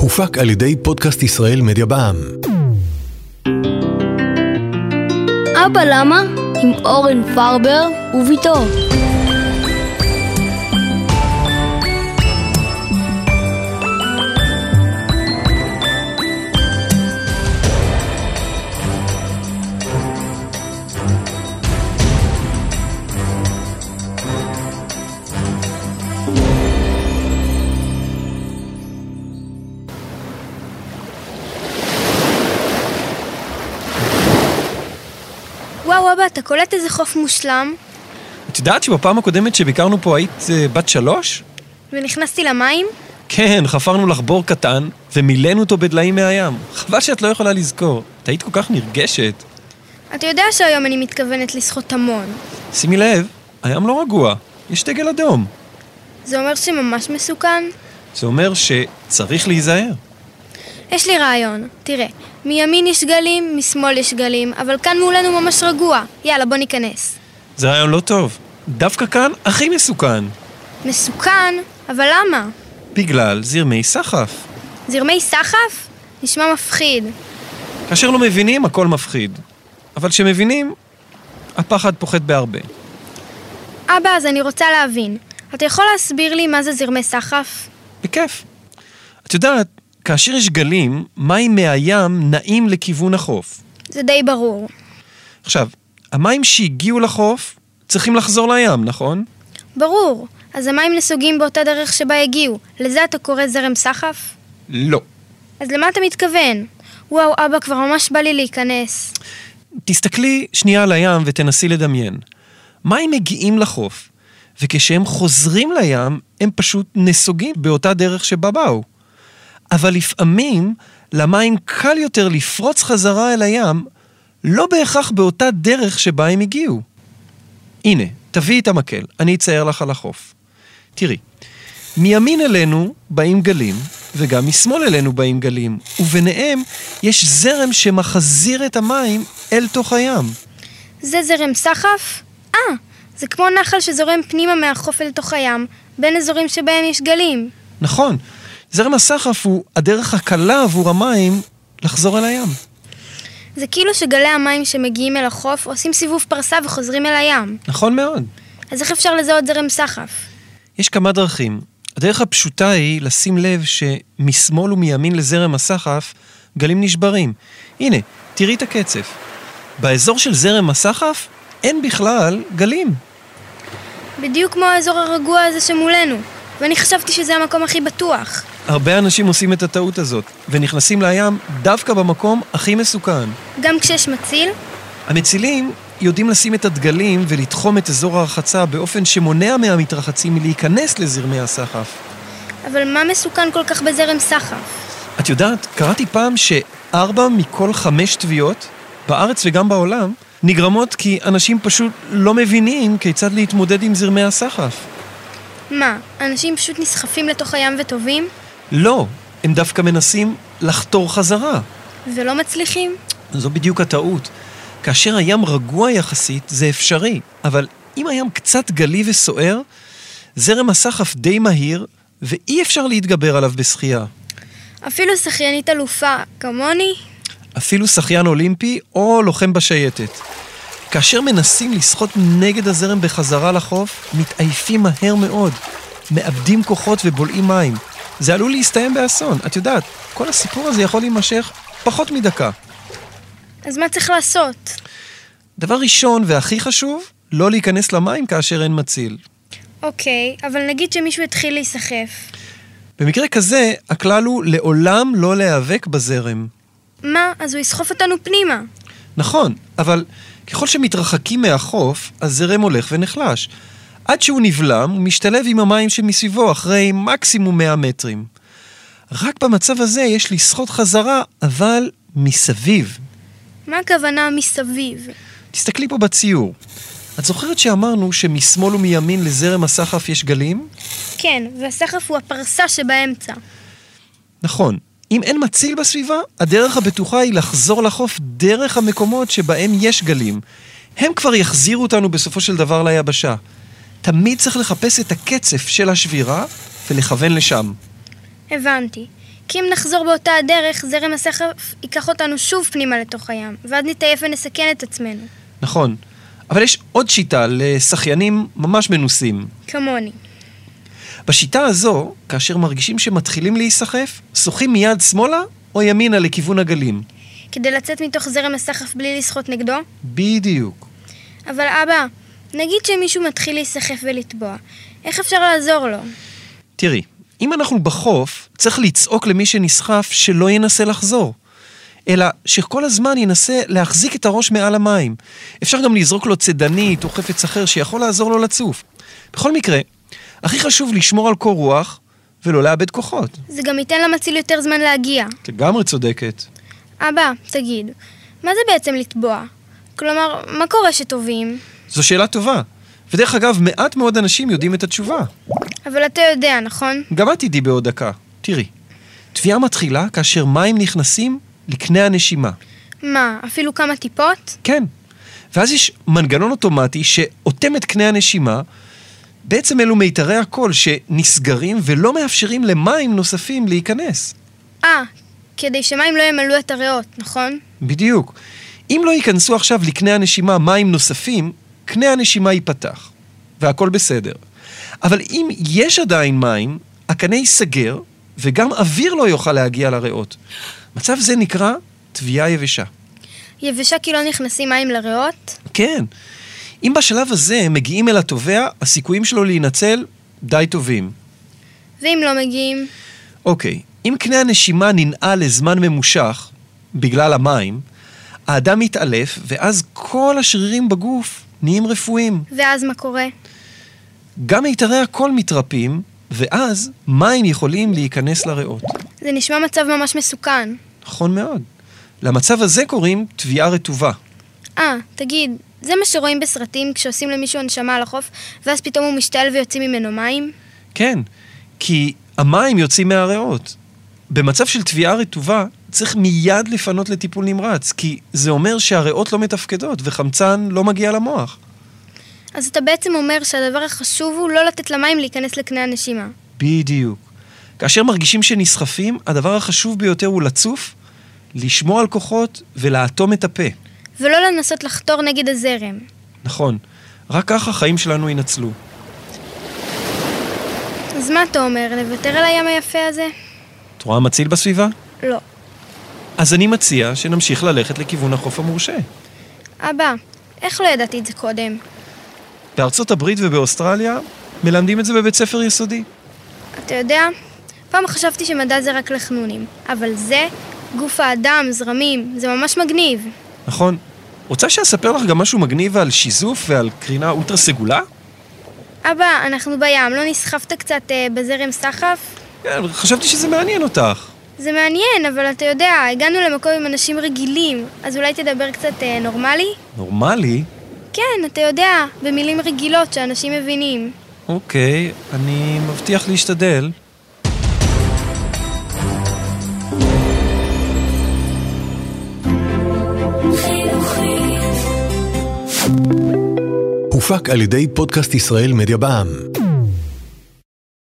הופק על ידי פודקאסט ישראל מדיה בע"מ. אבא למה? עם אורן פרבר וביתו. וואו אבא, אתה קולט איזה חוף מושלם? את יודעת שבפעם הקודמת שביקרנו פה היית אה, בת שלוש? ונכנסתי למים? כן, חפרנו לך בור קטן, ומילאנו אותו בדליים מהים. חבל שאת לא יכולה לזכור. את היית כל כך נרגשת. אתה יודע שהיום אני מתכוונת לשחות המון. שימי לב, הים לא רגוע, יש דגל אדום. זה אומר שממש מסוכן? זה אומר שצריך להיזהר. יש לי רעיון. תראה, מימין יש גלים, משמאל יש גלים, אבל כאן מולנו ממש רגוע. יאללה, בוא ניכנס. זה רעיון לא טוב. דווקא כאן הכי מסוכן. מסוכן? אבל למה? בגלל זרמי סחף. זרמי סחף? נשמע מפחיד. כאשר לא מבינים, הכל מפחיד. אבל כשמבינים, הפחד פוחת בהרבה. אבא, אז אני רוצה להבין. אתה יכול להסביר לי מה זה זרמי סחף? בכיף. את יודעת, כאשר יש גלים, מים מהים נעים לכיוון החוף. זה די ברור. עכשיו, המים שהגיעו לחוף צריכים לחזור לים, נכון? ברור. אז המים נסוגים באותה דרך שבה הגיעו. לזה אתה קורא זרם סחף? לא. אז למה אתה מתכוון? וואו, אבא, כבר ממש בא לי להיכנס. תסתכלי שנייה על הים ותנסי לדמיין. מים מגיעים לחוף, וכשהם חוזרים לים, הם פשוט נסוגים באותה דרך שבה באו. אבל לפעמים למים קל יותר לפרוץ חזרה אל הים, לא בהכרח באותה דרך שבה הם הגיעו. הנה, תביאי את המקל, אני אצייר לך על החוף. תראי, מימין אלינו באים גלים, וגם משמאל אלינו באים גלים, וביניהם יש זרם שמחזיר את המים אל תוך הים. זה זרם סחף? אה, זה כמו נחל שזורם פנימה מהחוף אל תוך הים, בין אזורים שבהם יש גלים. נכון, זרם הסחף הוא הדרך הקלה עבור המים לחזור אל הים. זה כאילו שגלי המים שמגיעים אל החוף עושים סיבוב פרסה וחוזרים אל הים. נכון מאוד. אז איך אפשר לזהות זרם סחף? יש כמה דרכים. הדרך הפשוטה היא לשים לב שמשמאל ומימין לזרם הסחף גלים נשברים. הנה, תראי את הקצף. באזור של זרם הסחף אין בכלל גלים. בדיוק כמו האזור הרגוע הזה שמולנו, ואני חשבתי שזה המקום הכי בטוח. הרבה אנשים עושים את הטעות הזאת, ונכנסים לים דווקא במקום הכי מסוכן. גם כשיש מציל? המצילים יודעים לשים את הדגלים ולתחום את אזור הרחצה באופן שמונע מהמתרחצים מלהיכנס לזרמי הסחף. אבל מה מסוכן כל כך בזרם סחף? את יודעת, קראתי פעם שארבע מכל חמש טביעות, בארץ וגם בעולם, נגרמות כי אנשים פשוט לא מבינים כיצד להתמודד עם זרמי הסחף. מה, אנשים פשוט נסחפים לתוך הים וטובעים? לא, הם דווקא מנסים לחתור חזרה. ולא מצליחים? זו בדיוק הטעות. כאשר הים רגוע יחסית, זה אפשרי, אבל אם הים קצת גלי וסוער, זרם הסחף די מהיר, ואי אפשר להתגבר עליו בשחייה. אפילו שחיינית אלופה, כמוני? אפילו שחיין אולימפי או לוחם בשייטת. כאשר מנסים לשחות נגד הזרם בחזרה לחוף, מתעייפים מהר מאוד, מאבדים כוחות ובולעים מים. זה עלול להסתיים באסון, את יודעת, כל הסיפור הזה יכול להימשך פחות מדקה. אז מה צריך לעשות? דבר ראשון והכי חשוב, לא להיכנס למים כאשר אין מציל. אוקיי, אבל נגיד שמישהו התחיל להיסחף. במקרה כזה, הכלל הוא לעולם לא להיאבק בזרם. מה, אז הוא יסחוף אותנו פנימה. נכון, אבל ככל שמתרחקים מהחוף, הזרם הולך ונחלש. עד שהוא נבלם, הוא משתלב עם המים שמסביבו אחרי מקסימום 100 מטרים. רק במצב הזה יש לשחות חזרה, אבל מסביב. מה הכוונה מסביב? תסתכלי פה בציור. את זוכרת שאמרנו שמשמאל ומימין לזרם הסחף יש גלים? כן, והסחף הוא הפרסה שבאמצע. נכון. אם אין מציל בסביבה, הדרך הבטוחה היא לחזור לחוף דרך המקומות שבהם יש גלים. הם כבר יחזירו אותנו בסופו של דבר ליבשה. תמיד צריך לחפש את הקצף של השבירה ולכוון לשם. הבנתי. כי אם נחזור באותה הדרך, זרם הסחף ייקח אותנו שוב פנימה לתוך הים, ואז נתעייף ונסכן את עצמנו. נכון. אבל יש עוד שיטה לשחיינים ממש מנוסים. כמוני. בשיטה הזו, כאשר מרגישים שמתחילים להיסחף, שוחים מיד שמאלה או ימינה לכיוון הגלים. כדי לצאת מתוך זרם הסחף בלי לשחות נגדו? בדיוק. אבל אבא, נגיד שמישהו מתחיל להיסחף ולטבוע, איך אפשר לעזור לו? תראי, אם אנחנו בחוף, צריך לצעוק למי שנסחף שלא ינסה לחזור. אלא שכל הזמן ינסה להחזיק את הראש מעל המים. אפשר גם לזרוק לו צידנית או חפץ אחר שיכול לעזור לו לצוף. בכל מקרה, הכי חשוב לשמור על קור רוח ולא לאבד כוחות. זה גם ייתן למציל יותר זמן להגיע. את לגמרי צודקת. אבא, תגיד, מה זה בעצם לטבוע? כלומר, מה קורה שטובעים? זו שאלה טובה. ודרך אגב, מעט מאוד אנשים יודעים את התשובה. אבל אתה יודע, נכון? גם את תדעי בעוד דקה. תראי, תביעה מתחילה כאשר מים נכנסים לקנה הנשימה. מה, אפילו כמה טיפות? כן. ואז יש מנגנון אוטומטי שאוטם את קנה הנשימה. בעצם אלו מיתרי הקול שנסגרים ולא מאפשרים למים נוספים להיכנס. אה, כדי שמים לא ימלאו את הריאות, נכון? בדיוק. אם לא ייכנסו עכשיו לקנה הנשימה מים נוספים, קנה הנשימה ייפתח, והכל בסדר. אבל אם יש עדיין מים, הקנה ייסגר, וגם אוויר לא יוכל להגיע לריאות. מצב זה נקרא תביעה יבשה. יבשה כי לא נכנסים מים לריאות? כן. אם בשלב הזה הם מגיעים אל התובע, הסיכויים שלו להינצל די טובים. ואם לא מגיעים? אוקיי, אם קנה הנשימה ננעל לזמן ממושך, בגלל המים, האדם מתעלף, ואז כל השרירים בגוף נהיים רפואיים. ואז מה קורה? גם מיתרי הקול מתרפים, ואז מים יכולים להיכנס לריאות. זה נשמע מצב ממש מסוכן. נכון מאוד. למצב הזה קוראים תביעה רטובה. אה, תגיד, זה מה שרואים בסרטים כשעושים למישהו הנשמה על החוף, ואז פתאום הוא משתעל ויוצאים ממנו מים? כן, כי המים יוצאים מהריאות. במצב של תביעה רטובה, צריך מיד לפנות לטיפול נמרץ, כי זה אומר שהריאות לא מתפקדות וחמצן לא מגיע למוח. אז אתה בעצם אומר שהדבר החשוב הוא לא לתת למים להיכנס לקנה הנשימה. בדיוק. כאשר מרגישים שנסחפים, הדבר החשוב ביותר הוא לצוף, לשמור על כוחות ולאטום את הפה. ולא לנסות לחתור נגד הזרם. נכון, רק כך החיים שלנו יינצלו. אז מה אתה אומר, לוותר על הים היפה הזה? את רואה מציל בסביבה? לא. אז אני מציע שנמשיך ללכת לכיוון החוף המורשה. אבא, איך לא ידעתי את זה קודם? בארצות הברית ובאוסטרליה מלמדים את זה בבית ספר יסודי. אתה יודע, פעם חשבתי שמדע זה רק לחנונים, אבל זה, גוף האדם, זרמים, זה ממש מגניב. נכון. רוצה שאספר לך גם משהו מגניב על שיזוף ועל קרינה אולטרה סגולה? אבא, אנחנו בים, לא נסחפת קצת אה, בזרם סחף? כן, אבל חשבתי שזה מעניין אותך. זה מעניין, אבל אתה יודע, הגענו למקום עם אנשים רגילים, אז אולי תדבר קצת אה, נורמלי? נורמלי? כן, אתה יודע, במילים רגילות שאנשים מבינים. אוקיי, אני מבטיח להשתדל. הופק על ידי פודקאסט ישראל מדיה בע"מ.